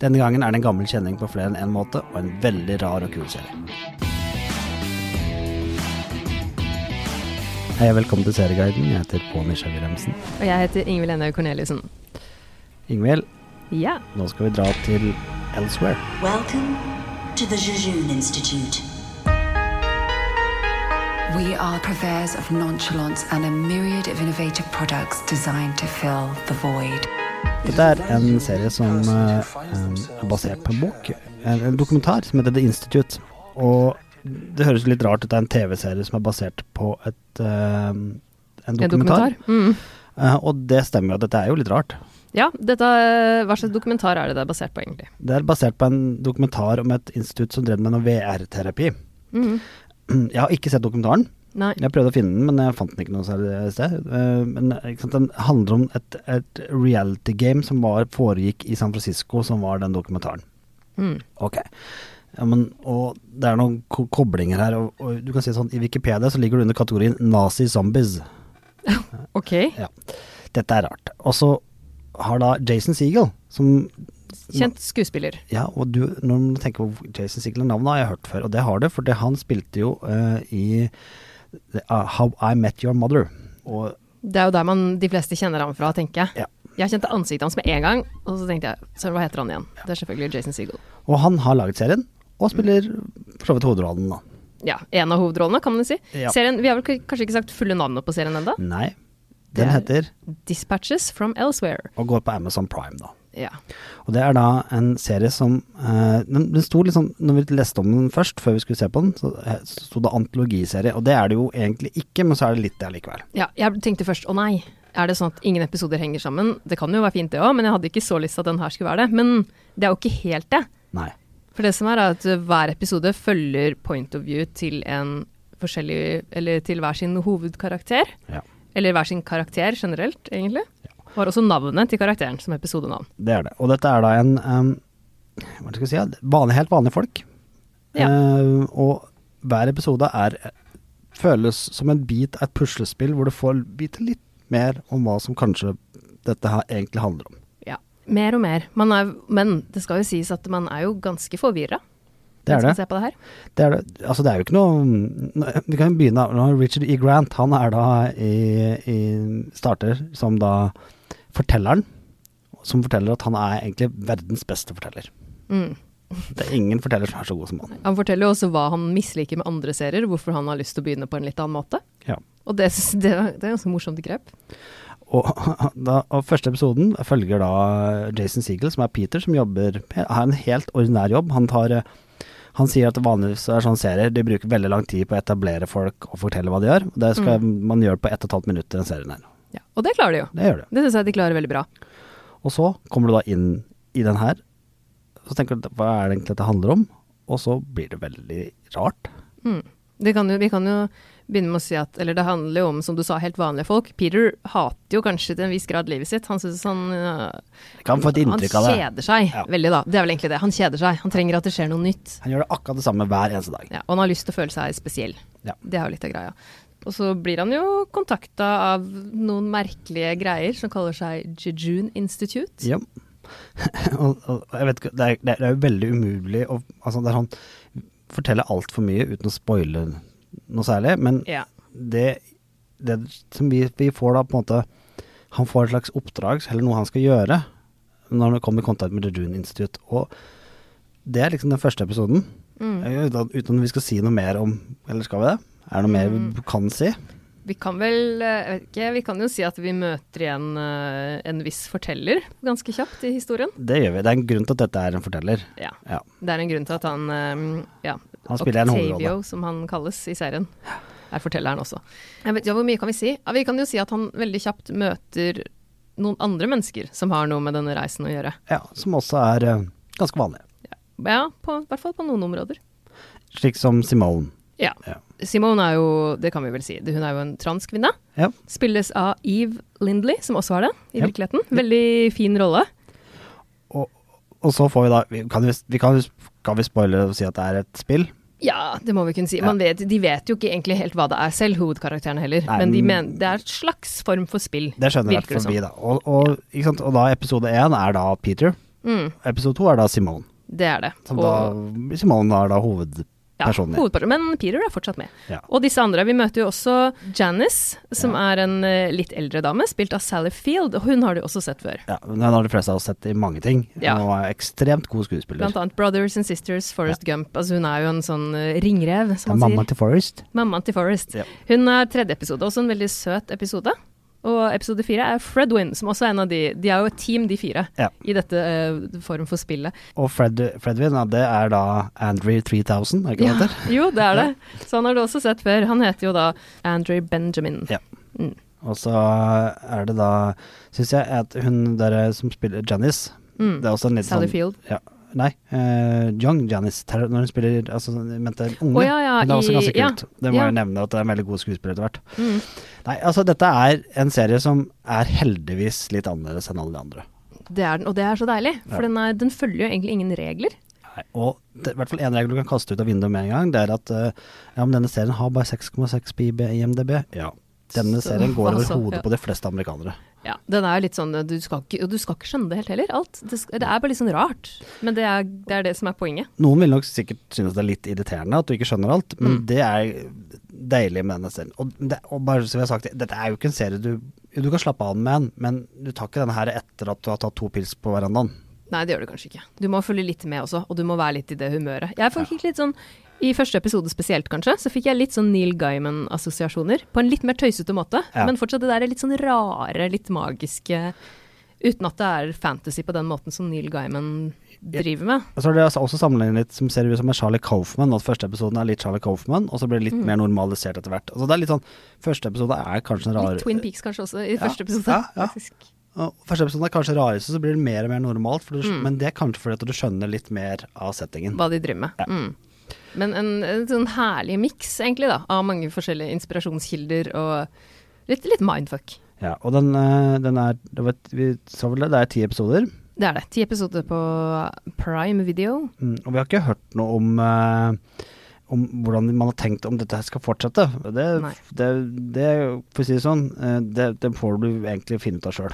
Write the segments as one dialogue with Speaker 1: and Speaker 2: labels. Speaker 1: Denne gangen er det en gammel kjenning på flere enn én måte, og en veldig rar og kul serie. Hei og velkommen til Serieguiden. Jeg heter Pål Misja Wilhelmsen.
Speaker 2: Og jeg heter Ingvild Enhaug Corneliussen.
Speaker 1: Ingvild,
Speaker 2: Ja.
Speaker 1: nå skal vi dra til Elsewhere.
Speaker 3: Welcome to the Jejun Institute.
Speaker 4: We are purveyors of nonchalance and a myriad of innovative products designed to fill the void.
Speaker 1: Dette er en serie som eh, em, er basert på en bok, en, en dokumentar som heter The Institute. Og det høres litt rart ut, det er en TV-serie som er basert på et, eh, en dokumentar.
Speaker 2: En dokumentar. Mm.
Speaker 1: Eh, og det stemmer jo, dette er jo litt rart.
Speaker 2: Ja, dette, eh, hva slags dokumentar er det det er basert på, egentlig?
Speaker 1: Det er basert på en dokumentar om et institutt som drev med noe VR-terapi.
Speaker 2: Mhm.
Speaker 1: Jeg har ikke sett dokumentaren.
Speaker 2: Nei.
Speaker 1: Jeg prøvde å finne den, men jeg fant den ikke noe særlig sted. Eh, Men ikke sant, den handler om et, et reality game som var, foregikk i San Francisco, som var den dokumentaren.
Speaker 2: Mm.
Speaker 1: Ok. Ja, men, og det er noen ko koblinger her, og, og du kan si sånn, i Wikipedia så ligger du under kategorien nazi-zombies.
Speaker 2: Ok.
Speaker 1: Ja. Dette er rart. Og så har da Jason Segel, som
Speaker 2: Kjent skuespiller.
Speaker 1: Ja, og du, når man tenker på Jason Segel, navnet har jeg hørt før, og det har du, for det, han spilte jo eh, i eh, How I Met Your Mother. Og
Speaker 2: Det er jo der man de fleste kjenner ham fra, tenker jeg.
Speaker 1: Ja.
Speaker 2: Jeg kjente ansiktet hans med en gang, og så tenkte jeg Søren, hva heter han igjen? Det er selvfølgelig Jason Segel.
Speaker 1: Og han har laget serien, og spiller for så vidt hovedrollen, da.
Speaker 2: Ja, en av hovedrollene, kan man si.
Speaker 1: Ja.
Speaker 2: Serien, vi har vel k- kanskje ikke sagt fulle navnet på serien ennå?
Speaker 1: Nei.
Speaker 2: Det
Speaker 1: Den
Speaker 2: er-
Speaker 1: heter
Speaker 2: Dispatches from Elsewhere.
Speaker 1: Og går på Amazon Prime, da.
Speaker 2: Ja.
Speaker 1: Og det er da en serie som eh, Den, den sto liksom Når vi leste om den først, før vi skulle se på den, så eh, så sto det antologiserie. Og det er det jo egentlig ikke, men så er det litt det allikevel.
Speaker 2: ja. Jeg tenkte først å nei, er det sånn at ingen episoder henger sammen? Det kan jo være fint det òg, men jeg hadde ikke så lyst til at den her skulle være det. Men det er jo ikke helt det.
Speaker 1: Nei.
Speaker 2: For det som er, er at hver episode følger point of view til en forskjellig Eller til hver sin hovedkarakter.
Speaker 1: Ja.
Speaker 2: Eller hver sin karakter generelt, egentlig. Og har også navnet til karakteren som episodenavn.
Speaker 1: Det er det. Og dette er da en em, Hva skal jeg si? ja, Vanlig, helt vanlige folk.
Speaker 2: Ja.
Speaker 1: Eh, og hver episode er føles som en bit av et puslespill hvor du får vite litt mer om hva som kanskje dette her egentlig handler om.
Speaker 2: Ja. Mer og mer. Man er, men det skal jo sies at man er jo ganske forvirra.
Speaker 1: Det er
Speaker 2: mens man
Speaker 1: det.
Speaker 2: ser på det her.
Speaker 1: det, er det. Altså, det er jo ikke noe Vi kan jo begynne av Richard E. Grant. Han er da i, i starter som da fortelleren. Som forteller at han er egentlig verdens beste forteller.
Speaker 2: Mm.
Speaker 1: Det er ingen forteller som er så god som han.
Speaker 2: Han forteller jo også hva han misliker med andre serier, hvorfor han har lyst til å begynne på en litt annen måte.
Speaker 1: Ja.
Speaker 2: Og det, synes- det, er- det er ganske morsomt grep.
Speaker 1: Og, da, og første episoden følger da Jason Segel, som er Peter, som jobber har en helt ordinær jobb. Han, tar, eh, han sier at vanligvis er sånne serier de bruker veldig lang tid på å etablere folk og fortelle hva de gjør. Det skal
Speaker 2: Mm.
Speaker 1: man gjøre på ett og et halvt minutt i den serien her.
Speaker 2: Ja. Og det klarer de jo.
Speaker 1: Det gjør du.
Speaker 2: Det syns jeg de klarer veldig bra.
Speaker 1: Og så kommer du da inn i den her, så tenker du hva er det egentlig dette handler om? Og så blir det veldig rart.
Speaker 2: Det kan jo, vi kan jo begynne med å si at Eller det handler jo om, som du sa, helt vanlige folk. Peter hater jo kanskje til en viss grad livet sitt. Han syns han øh,
Speaker 1: Jeg kan få et inntrykk av det.
Speaker 2: Han kjeder seg
Speaker 1: Ja.
Speaker 2: veldig, da. Det er vel egentlig det. Han kjeder seg. Han trenger at det skjer noe nytt.
Speaker 1: Han gjør det akkurat det samme hver eneste dag.
Speaker 2: Ja, og han har lyst til å føle seg spesiell.
Speaker 1: Ja.
Speaker 2: Det er jo litt av greia. Og så blir han jo kontakta av noen merkelige greier som kaller seg Jejun Institute.
Speaker 1: Ja. og, og jeg vet ikke, det er, det er- det er jo veldig umulig å altså det er sånn, fortelle altfor mye uten å spoile noe særlig, men
Speaker 2: Ja.
Speaker 1: det, det som vi, vi får da på en måte Han får et slags oppdrag, eller noe han skal gjøre, når han kommer i kontakt med The June Institute. Og det er liksom den første episoden. Eh, Uten, at- uten at vi skal si noe mer om Eller skal vi det? Er det noe mer vi kan si?
Speaker 2: Vi kan vel eh, jeg vet ikke, Vi kan jo si at vi møter igjen eh, en viss forteller ganske kjapt i historien.
Speaker 1: Det gjør vi. Det er en grunn til at dette er en forteller.
Speaker 2: Ja.
Speaker 1: Ja.
Speaker 2: Det er en grunn til at han eh, ja,
Speaker 1: Han spiller en hovedrolle.
Speaker 2: Octavio, som han kalles i serien, er fortelleren også. Jeg vet, ja, hvor mye kan vi si? Ja, vi kan jo si at han veldig kjapt møter noen andre mennesker som har noe med denne reisen å gjøre.
Speaker 1: ja som også er eh, ganske vanlig.
Speaker 2: Ja, på, i hvert fall på noen områder.
Speaker 1: Slik som Simone.
Speaker 2: Ja.
Speaker 1: Ja.
Speaker 2: Simone er jo, det kan vi vel si, det- hun er jo en transkvinne.
Speaker 1: Ja.
Speaker 2: Spilles av Eve Lindley, som også er det, i
Speaker 1: Ja.
Speaker 2: virkeligheten. Veldig fin rolle.
Speaker 1: Og, og så får vi da vi kan, vi, vi kan, kan vi spoile og si at det er et spill?
Speaker 2: Ja, det må vi kunne si. Man vet, de vet jo ikke egentlig helt hva det er selv, hovedkarakterene heller.
Speaker 1: Nei,
Speaker 2: men de
Speaker 1: men-
Speaker 2: men, det er et slags form for spill.
Speaker 1: Det skjønner i hvert
Speaker 2: virker
Speaker 1: fall
Speaker 2: som.
Speaker 1: vi, da. Og, og, ikke sant? og da episode én er da Peter,
Speaker 2: Mm,
Speaker 1: Episode to er da Simone.
Speaker 2: det er det.
Speaker 1: Som da, Simone er da hovedpersonen.
Speaker 2: ja, hovedpersonen. Men Peter er fortsatt med.
Speaker 1: Ja.
Speaker 2: Og disse andre. Vi møter jo også Janice, som er en eh, litt eldre dame, spilt av Sally Field. Og hun har du også sett før.
Speaker 1: Ja, men han har de fleste av oss sett i mange ting.
Speaker 2: Ja.
Speaker 1: Hun var ekstremt god skuespiller.
Speaker 2: Blant annet Brothers and Sisters, Forrest Gump. Altså hun er jo en sånn eh, ringrev,
Speaker 1: Det er
Speaker 2: som man
Speaker 1: mammaen
Speaker 2: sier.
Speaker 1: til Forrest.
Speaker 2: Mammaen til Forrest.
Speaker 1: Ja.
Speaker 2: Hun er tredje episode, også en veldig søt episode. Og episode fire er Fredwin, som også er en av de De er jo et team, de fire,
Speaker 1: Ja.
Speaker 2: i dette eh, form for spillet.
Speaker 1: Og Fred, Fredwin, ja, det er da Andrew 3000, er ikke det han heter?
Speaker 2: jo, det er det. Så han har du også sett før. Han heter jo da Andrew Benjamin.
Speaker 1: Ja.
Speaker 2: Mm.
Speaker 1: Og så er det da, syns jeg, at hun der som spiller Janice
Speaker 2: Mm.
Speaker 1: Det er også en litt
Speaker 2: Sally
Speaker 1: sånn
Speaker 2: Field.
Speaker 1: Ja. Nei, eh, Young Janice, ter- når hun spiller altså, jeg mente unge.
Speaker 2: Å, ja, ja,
Speaker 1: men det er også
Speaker 2: i-
Speaker 1: ganske
Speaker 2: ja,
Speaker 1: kult. Det må
Speaker 2: ja.
Speaker 1: jeg nevne, at det er en veldig god skuespiller etter hvert.
Speaker 2: Mm.
Speaker 1: Nei, altså dette er en serie som er heldigvis litt annerledes enn alle de andre.
Speaker 2: Det er den, og det er så deilig, for
Speaker 1: Ja.
Speaker 2: den, er, den følger jo egentlig ingen regler.
Speaker 1: Nei, og det, i hvert fall en regel du kan kaste ut av vinduet med en gang, det er at eh, ja, men denne serien har bare 6,6 på IB i IMDb. Ja. Denne
Speaker 2: Så,
Speaker 1: serien går over
Speaker 2: altså,
Speaker 1: hodet
Speaker 2: ja.
Speaker 1: på de fleste amerikanere.
Speaker 2: Ja, den er jo litt sånn, du skal ikke, og du skal ikke skjønne det helt heller, alt. Det, sk- det er bare litt sånn rart, men det er det, er det som er poenget.
Speaker 1: Noen vil nok sikkert synes det er litt irriterende at du ikke skjønner alt, men
Speaker 2: Mm.
Speaker 1: det er deilig med denne serien. Og, det, og bare som jeg har sagt, dette er jo ikke en serie du Du kan slappe av med den, men du tar ikke denne her etter at du har tatt to pils på verandaen.
Speaker 2: Nei, det gjør du kanskje ikke. Du må følge litt med også, og du må være litt i det humøret. Jeg fikk litt sånn, i første episode spesielt kanskje, så fikk jeg litt sånn Neil Gaiman-assosiasjoner, på en litt mer tøysete måte,
Speaker 1: Ja.
Speaker 2: men fortsatt det der litt sånn rare, litt magiske, uten at det er fantasy på den måten som Neil Gaiman driver med.
Speaker 1: Og så har de altså også sammenlignet litt som ser ut som med Charlie Coffman, at første episoden er litt Charlie Coffman, og så blir det
Speaker 2: Mm.
Speaker 1: litt mer normalisert etter hvert. Altså det er litt sånn, Første episode er kanskje en rar
Speaker 2: Litt Twin Peaks kanskje også, i
Speaker 1: Ja,
Speaker 2: første episode.
Speaker 1: ja, ja.
Speaker 2: faktisk.
Speaker 1: Og Første episoden er kanskje rareste, så blir det mer og mer normalt, for du,
Speaker 2: Mm.
Speaker 1: men det er kanskje fordi at du skjønner litt mer av settingen.
Speaker 2: hva de driver med. Mm. Men en, en sånn herlig miks, egentlig, da, av mange forskjellige inspirasjonskilder og litt, litt mindfuck.
Speaker 1: Ja, og den, eh, den er det var, Vi sa vel det, det er ti episoder,
Speaker 2: Det er det. Ti episoder på prime video.
Speaker 1: mm, og vi har ikke hørt noe om eh, om hvordan man har tenkt om dette her skal fortsette. Det,
Speaker 2: Nei.
Speaker 1: det, det for å si det sånn, eh, det, det får du egentlig finne ut av sjøl.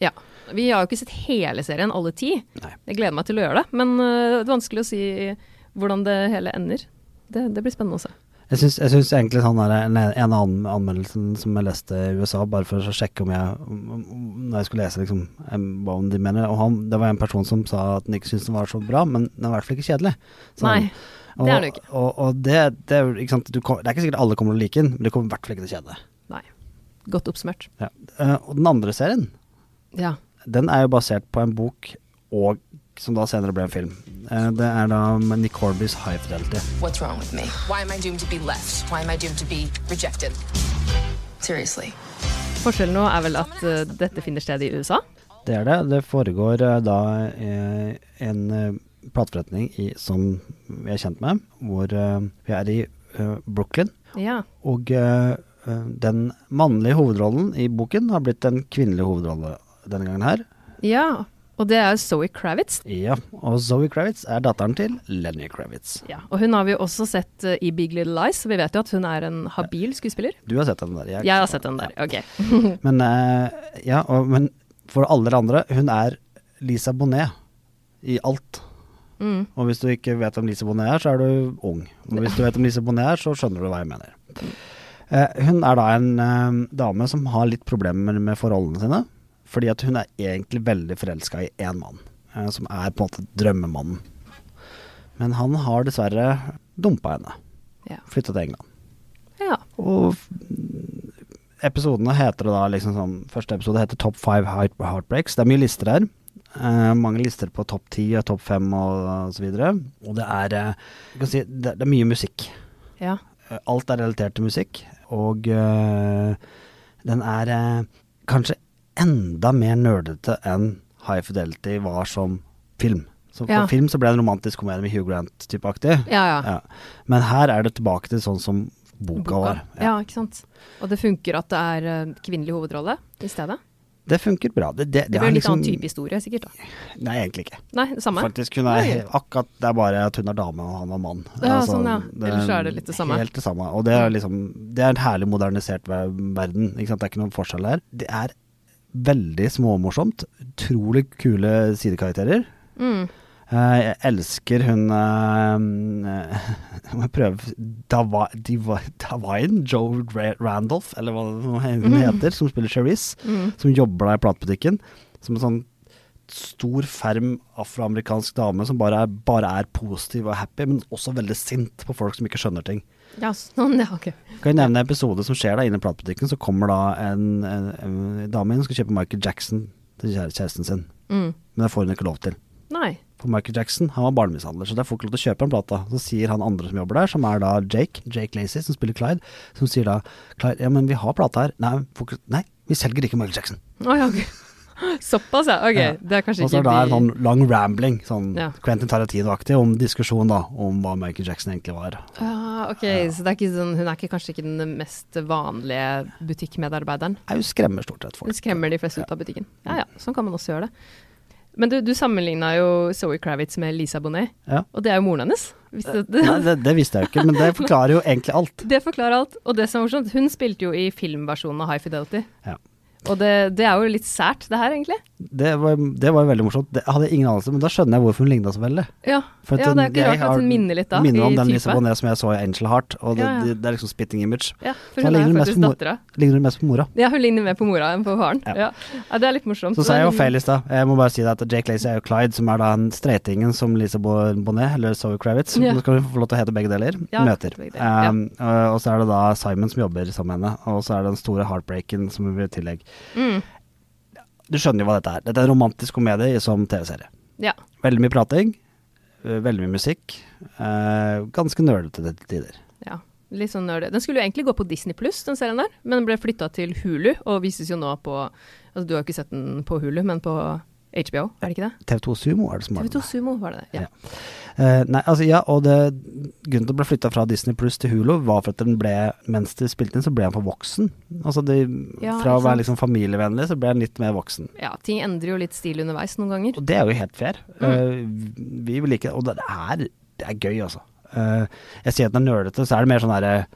Speaker 2: Ja. Vi har jo ikke sett hele serien, alle ti.
Speaker 1: Nei.
Speaker 2: Jeg gleder meg til å gjøre det, men øh, det er vanskelig å si hvordan det hele ender. Det, det blir spennende å se.
Speaker 1: Jeg syns, jeg syns egentlig sånn der, en, en av anm- anmeldelsene som jeg leste i USA, bare for å sjekke om jeg om- om- Når jeg skulle lese liksom, em, hva om de mener og han, Det var en person som sa at den ikke syntes den var så bra, men den er i hvert fall ikke kjedelig. sa han.
Speaker 2: Nei, det er den jo ikke.
Speaker 1: Og, og, og det, det, er jo, ikke sant? Du, kom- det er ikke sikkert alle kommer til å like den, men det kommer i hvert fall ikke til å kjede deg.
Speaker 2: Nei. Godt oppsummert.
Speaker 1: Ja. Eh, og den andre serien,
Speaker 2: Ja.
Speaker 1: den er jo basert på en bok og som da senere ble en film. Eh, det er da med Nick Horbys High Fidelity.
Speaker 5: What's wrong with me? Why am I doomed to be left? Why am I doomed to be rejected? Seriously.
Speaker 2: Forskjellen nå er vel at øh, dette finner sted i USA.
Speaker 1: Det er det. Det foregår eh, da eh, en eh, plateforretning i, som vi er kjent med, hvor eh, vi er i eh, Brooklyn.
Speaker 2: Ja.
Speaker 1: Og eh, eh, den mannlige hovedrollen i boken har blitt den kvinnelige hovedrolle denne gangen her.
Speaker 2: ja. Og det er Zoe Kravitz.
Speaker 1: Ja, og Zoe Kravitz er datteren til Lenny Kravitz.
Speaker 2: Ja, og hun har vi jo også sett eh, i Big Little Lies, så vi vet jo at hun er en habil skuespiller.
Speaker 1: Du har sett den der?
Speaker 2: Jeg har sett den der, ok.
Speaker 1: Men, eh, ja, og, men for alle dere andre, hun er Lisa Bonet i alt. Og hvis du ikke vet om Lisa Bonet er, så er du ung. Og hvis du vet om Lisa Bonet er, så skjønner du hva jeg mener. Eh, hun er da en eh, dame som har litt problemer med forholdene sine. Fordi at hun er egentlig veldig forelska i én mann, eh, som er på en måte drømmemannen. Men han har dessverre dumpa henne.
Speaker 2: Ja.
Speaker 1: Flytta til England.
Speaker 2: ja.
Speaker 1: Og f- episodene heter det da liksom sånn Første episode heter Top 5 Heartbreaks. Det er mye lister her. Eh, mange lister på topp 10 og topp 5 og, og så videre. Og det er eh, jeg kan si, det, det er mye musikk.
Speaker 2: ja.
Speaker 1: Eh, Alt er relatert til musikk. Og eh, den er eh, kanskje enda mer nerdete enn High Fidelity var som film. Så for
Speaker 2: Ja.
Speaker 1: film så ble det en romantisk komedie med Hugh Grant-type aktig.
Speaker 2: Ja, ja.
Speaker 1: Ja. Men her er det tilbake til sånn som boka, var.
Speaker 2: Ja. ikke sant. Og det funker at det er eh, kvinnelig hovedrolle i stedet.
Speaker 1: Det funker bra. Det, det, er
Speaker 2: Det blir en litt
Speaker 1: liksom-
Speaker 2: annen type historie, sikkert. da.
Speaker 1: Nei, egentlig ikke.
Speaker 2: Nei, det samme.
Speaker 1: Faktisk, hun er he- akkurat Det er bare at hun er dame og han er mann. Altså,
Speaker 2: Ja, sånn, ja. Ellers så er det litt det samme.
Speaker 1: Helt det samme. Og det er liksom Det er en herlig modernisert ver- verden. Ikke sant? Det er ikke noen forskjell der. Det er veldig småmorsomt. Utrolig kule sidekarakterer.
Speaker 2: Mm.
Speaker 1: Eh, jeg elsker hun eh, Jeg må prøve Dava- Diva- Davine Joe Ra Randolph, eller hva hun
Speaker 2: Mm.
Speaker 1: heter, som spiller Cherise. Som jobber da i platebutikken. Som en sånn stor, ferm afroamerikansk dame som bare er, bare er positiv og happy, men også veldig sint på folk som ikke skjønner ting.
Speaker 2: Ja, sånn, ja, ok.
Speaker 1: Kan jeg nevne en episode som skjer da inne i platebutikken, så kommer da en, en, en dame inn og skal kjøpe Michael Jackson til kjære- kjæresten sin. Men det får hun ikke lov til.
Speaker 2: Mm. Nei.
Speaker 1: For Michael Jackson han var barnemishandler, så det får ikke lov til å kjøpe en plate. Så sier han andre som jobber der, som er da Jake, Jake Lacey, som spiller Clyde, som sier da Clyde, ja, men vi har plate her. Nei, får ikke- nei, vi selger ikke Michael Jackson.
Speaker 2: Å ja, ok. Såpass, ja. Ok,
Speaker 1: Ja.
Speaker 2: det er kanskje
Speaker 1: Og så
Speaker 2: ikke
Speaker 1: er det en sånn lang rambling, sånn
Speaker 2: Ja.
Speaker 1: Quentin Tarantino-aktig, om diskusjon da, om hva Michael Jackson egentlig var.
Speaker 2: Ah, ok, Så det er ikke sånn, hun er ikke, kanskje ikke den mest vanlige butikkmedarbeideren?
Speaker 1: Jeg skremmer stort sett folk.
Speaker 2: Hun skremmer de fleste ut av butikken. Ja ja, sånn kan man også gjøre det. Men du, du sammenligna jo Zoe Kravitz med Lisa Bonet,
Speaker 1: Ja.
Speaker 2: og det er jo moren hennes. Hvis det,
Speaker 1: Nei, det, det visste jeg jo ikke, men det forklarer jo egentlig alt.
Speaker 2: det forklarer alt. Og det som er morsomt, hun spilte jo i filmversjonen av High Fidelity.
Speaker 1: Ja.
Speaker 2: Og det, det er jo litt sært, det her, egentlig.
Speaker 1: Det var, det var jo veldig morsomt. Det hadde jeg ingen anelse, men da skjønner jeg hvorfor hun ligna så veldig.
Speaker 2: Ja,
Speaker 1: For at
Speaker 2: ja det er
Speaker 1: hun-
Speaker 2: ikke
Speaker 1: jeg
Speaker 2: rart at hun
Speaker 1: har-
Speaker 2: minner litt da.
Speaker 1: Minner om
Speaker 2: i
Speaker 1: den
Speaker 2: type.
Speaker 1: Lisa Bonet som jeg så i Angel Heart, og det,
Speaker 2: Ja, ja.
Speaker 1: det, det er liksom spitting image.
Speaker 2: Ja,
Speaker 1: Så da
Speaker 2: for hun er
Speaker 1: ligner
Speaker 2: jo
Speaker 1: hun mest på
Speaker 2: faktisk
Speaker 1: mor-
Speaker 2: dattera.
Speaker 1: Ligner hun mest på mora.
Speaker 2: Ja, hun ligner mer på mora enn på faren. Ja. Ja, det er litt morsomt.
Speaker 1: Så sa jeg jo
Speaker 2: Den-
Speaker 1: feil i stad. Jeg må bare si det at Jake Lacey er jo Clyde, som er da den streitingen som Lisa Bo- Bonet, eller Zoe Kravitz,
Speaker 2: Ja.
Speaker 1: nå skal hun få lov til å hete begge deler,
Speaker 2: Ja,
Speaker 1: møter.
Speaker 2: begge deler, ja.
Speaker 1: Um, og- og så er det da Simon som jobber sammen med henne, og så er det den store heartbreaken som blir i tillegg.
Speaker 2: Mm.
Speaker 1: Du skjønner jo hva dette er. Dette er en romantisk komedie som TV-serie.
Speaker 2: Ja.
Speaker 1: Veldig mye prating, øh, veldig mye musikk, øh, ganske nølete til tider.
Speaker 2: ja. Litt sånn nerd. Den skulle jo egentlig gå på Disney Pluss, den serien der, men den ble flytta til Hulu og vises jo nå på Altså, du har jo ikke sett den på Hulu, men på HBO, er det ikke det?
Speaker 1: TV2 Sumo er det som har
Speaker 2: TV2
Speaker 1: den.
Speaker 2: Sumo, var det det? Ja.
Speaker 1: Eh, nei, altså, ja, og det, grunnen til at den ble flytta fra Disney Pluss til Hulu, var for at den ble, mens de spilte inn, så ble han for voksen. Altså, de,
Speaker 2: Ja,
Speaker 1: fra å
Speaker 2: ikke
Speaker 1: være liksom familievennlig, så ble han litt mer voksen.
Speaker 2: ja. Ting endrer jo litt stil underveis noen ganger.
Speaker 1: Og det er jo helt fair.
Speaker 2: Mm.
Speaker 1: Eh, vi vil like det. Og det er, det er gøy, altså. Eh, jeg sier at den er nølete, så er det mer sånn derre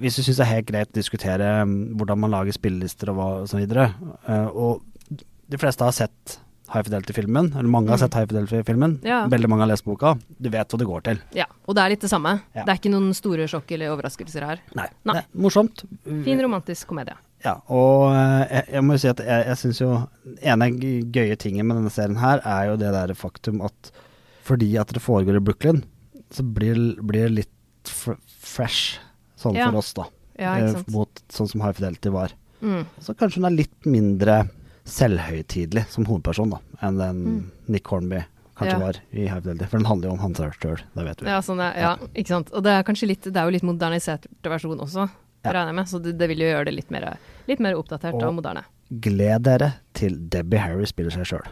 Speaker 1: Hvis du syns det er helt greit å diskutere mm, hvordan man lager spillelister og hva og så videre, eh, og de fleste har sett High Fidelity-filmen, eller mange har sett High Fidelity-filmen,
Speaker 2: Mm. Ja.
Speaker 1: veldig mange har lest boka, du vet hva det går til.
Speaker 2: Ja. Og det er litt det samme.
Speaker 1: Ja.
Speaker 2: Det er ikke noen store sjokk eller overraskelser her.
Speaker 1: Nei.
Speaker 2: Nei. Eh,
Speaker 1: Det er morsomt.
Speaker 2: Fin romantisk komedie.
Speaker 1: Ja, og eh, jeg, jeg må jo si at jeg, jeg syns jo ene g- gøye tingen med denne serien her, er jo det der faktum at fordi at det foregår i Brooklyn, så blir blir det litt fr fresh sånn
Speaker 2: Ja.
Speaker 1: for oss, da.
Speaker 2: Ja, ikke
Speaker 1: Eh,
Speaker 2: sant. Mm.
Speaker 1: Mot sånn som High Fidelity var. Så kanskje hun er litt mindre selvhøytidelig som hovedperson, da, enn den Nick Hornby kanskje
Speaker 2: Mm. Ja.
Speaker 1: var i High Fidelity. For den handler jo om han sjøl, det vet vi.
Speaker 2: Ja, sånn er, ja, ikke sant. Og det er kanskje litt, det er jo litt modernisert versjon også,
Speaker 1: Ja.
Speaker 2: regner jeg med. Så det, det vil jo gjøre det litt mer, litt mer oppdatert og,
Speaker 1: Og-
Speaker 2: moderne.
Speaker 1: Gled dere til Debbie Harry spiller seg sjøl.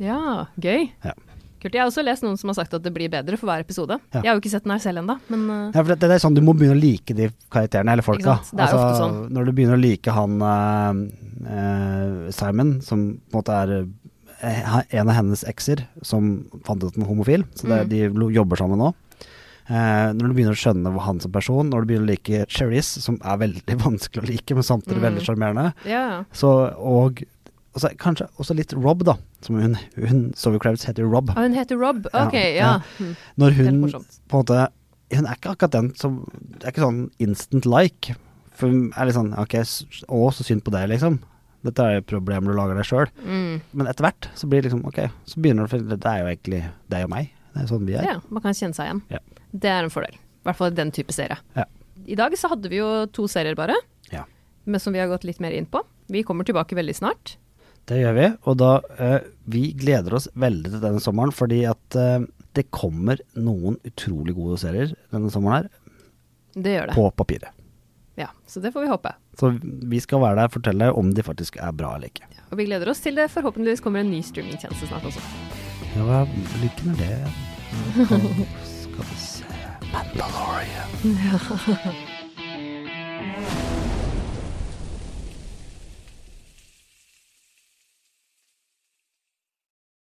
Speaker 2: Ja, gøy.
Speaker 1: Ja.
Speaker 2: Kult. Jeg har også lest noen som har sagt at det blir bedre for hver episode.
Speaker 1: Ja.
Speaker 2: Jeg har jo ikke sett den her selv ennå, men eh,
Speaker 1: Ja, for det, det er sånn du må begynne å like de karakterene, eller folka. Altså,
Speaker 2: Ikke sant? Det er jo ofte sånn.
Speaker 1: Når du begynner å like han eh, eh, Simon, som på en måte er eh, en av hennes ekser, som fant ut at han var homofil, så
Speaker 2: Mm.
Speaker 1: det, de lo- jobber sammen nå. Eh, når du begynner å skjønne hva han som person, når du begynner å like Cherise, som er veldig vanskelig å like, men samtidig veldig
Speaker 2: Mm.
Speaker 1: sjarmerende,
Speaker 2: ja, ja.
Speaker 1: så og og så kanskje også litt Rob, da. Som hun, hun Zoe Kravitz heter jo Rob.
Speaker 2: Ah, hun heter Rob. Ok,
Speaker 1: Ja,
Speaker 2: ja. Mm.
Speaker 1: ja. Når
Speaker 2: Helt
Speaker 1: hun på
Speaker 2: morsomt.
Speaker 1: en måte Hun er ikke akkurat den som Det er ikke sånn instant like. For hun er litt sånn OK, s- å, så synd på deg, liksom. Dette er jo et problem du lager deg sjøl.
Speaker 2: Mm.
Speaker 1: Men etter hvert så blir det liksom OK, så begynner du å finne Det er jo egentlig deg og meg. Det er sånn vi
Speaker 2: Ja.
Speaker 1: er.
Speaker 2: man kan kjenne seg igjen.
Speaker 1: Ja.
Speaker 2: Det er en fordel. I hvert fall i den type serie.
Speaker 1: Ja.
Speaker 2: I dag så hadde vi jo to serier bare,
Speaker 1: Ja.
Speaker 2: men som vi har gått litt mer inn på. Vi kommer tilbake veldig snart.
Speaker 1: Det gjør vi. Og da eh, Vi gleder oss veldig til denne sommeren, fordi at eh, det kommer noen utrolig gode serier denne sommeren her,
Speaker 2: Det gjør det.
Speaker 1: på papiret.
Speaker 2: Ja, så det får vi håpe.
Speaker 1: Så vi skal være der og fortelle deg om de faktisk er bra eller ikke.
Speaker 2: Og vi gleder oss til det forhåpentligvis kommer en ny streamingtjeneste snart også.
Speaker 1: Ja, hva lykken er det? Skal vi se Mandalorian.